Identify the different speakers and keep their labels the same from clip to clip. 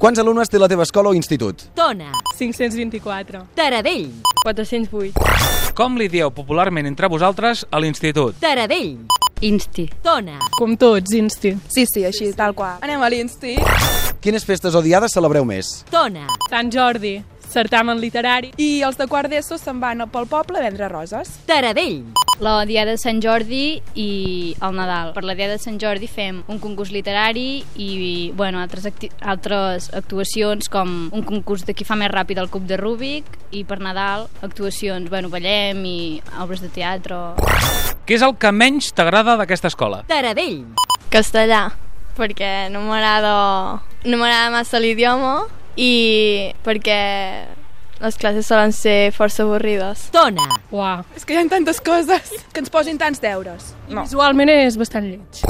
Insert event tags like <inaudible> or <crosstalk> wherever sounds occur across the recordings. Speaker 1: Quants alumnes té la teva escola o institut?
Speaker 2: Tona,
Speaker 3: 524.
Speaker 2: Taradell,
Speaker 3: 408.
Speaker 4: Com li dieu popularment entre vosaltres a l'institut?
Speaker 2: Taradell,
Speaker 5: Insti.
Speaker 2: Tona,
Speaker 3: Com tots, insti.
Speaker 6: Sí, sí, així, tal qual.
Speaker 7: Anem a l'insti.
Speaker 1: Quines festes o diades celebreu més?
Speaker 2: Tona,
Speaker 3: Sant Jordi, certamen literari.
Speaker 7: I els de quart d'ESO se'n van pel poble a vendre roses.
Speaker 2: Taradell,
Speaker 5: La Diada de Sant Jordi i el Nadal. Per la Diada de Sant Jordi fem un concurs literari i bueno, altres, acti altres actuacions com un concurs de qui fa més ràpid el cub de Rubik i per Nadal actuacions, bueno, ballem i obres de teatre.
Speaker 4: Què és el que menys t'agrada d'aquesta escola?
Speaker 2: Taradell,
Speaker 8: Castellà, perquè no m'agrada no m'agrada massa l'idioma i perquè les classes solen ser força avorrides.
Speaker 2: Tona,
Speaker 3: Uau.
Speaker 7: És que hi ha tantes coses que ens posin tants deures.
Speaker 3: No. Visualment és bastant lleig.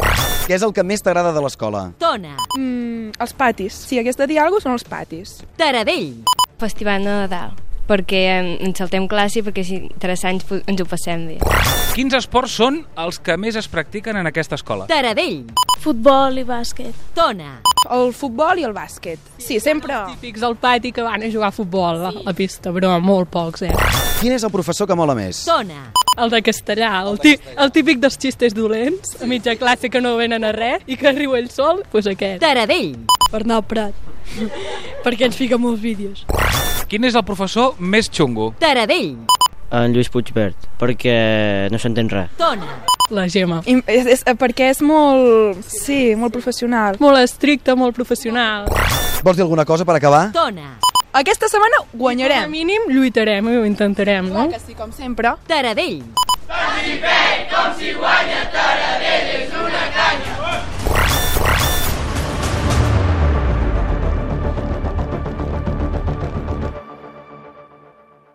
Speaker 1: Què és el que més t'agrada de l'escola?
Speaker 2: Tona,
Speaker 7: Mm, els patis. Si hagués de dir alguna són els patis.
Speaker 2: Taradell,
Speaker 9: Festival de Nadal perquè ens saltem classe i perquè si interessants ens ho passem bé.
Speaker 4: Quins esports són els que més es practiquen en aquesta escola?
Speaker 2: Taradell,
Speaker 6: Futbol i bàsquet.
Speaker 2: Tona,
Speaker 7: El futbol i el bàsquet. Sí, sempre.
Speaker 3: Típics al pati que van a jugar a futbol, sí. a pista, però molt pocs, eh?
Speaker 1: Quin és el professor que mola més?
Speaker 2: Tona,
Speaker 3: El de castellà, el, tí, el típic dels xistes dolents, a mitja classe que no venen a res i que riu ell sol, doncs pues aquest.
Speaker 2: Taradell,
Speaker 9: Bernat
Speaker 3: <laughs>
Speaker 9: Prat, perquè ens fica molts vídeos.
Speaker 4: Quin és el professor més xungo?
Speaker 2: Taradell,
Speaker 10: En Lluís Puigbert, perquè no s'entén res.
Speaker 2: Tona,
Speaker 3: La Gemma.
Speaker 7: I és, és, eh, perquè és molt... Sí, molt professional.
Speaker 3: Molt estricte, molt professional.
Speaker 1: Vols dir alguna cosa per acabar?
Speaker 2: Tona,
Speaker 7: Aquesta setmana
Speaker 3: Com a
Speaker 7: guanyarem.
Speaker 3: mínim lluitarem i ho intentarem, no?
Speaker 7: Que sí, com sempre.
Speaker 2: Taradell,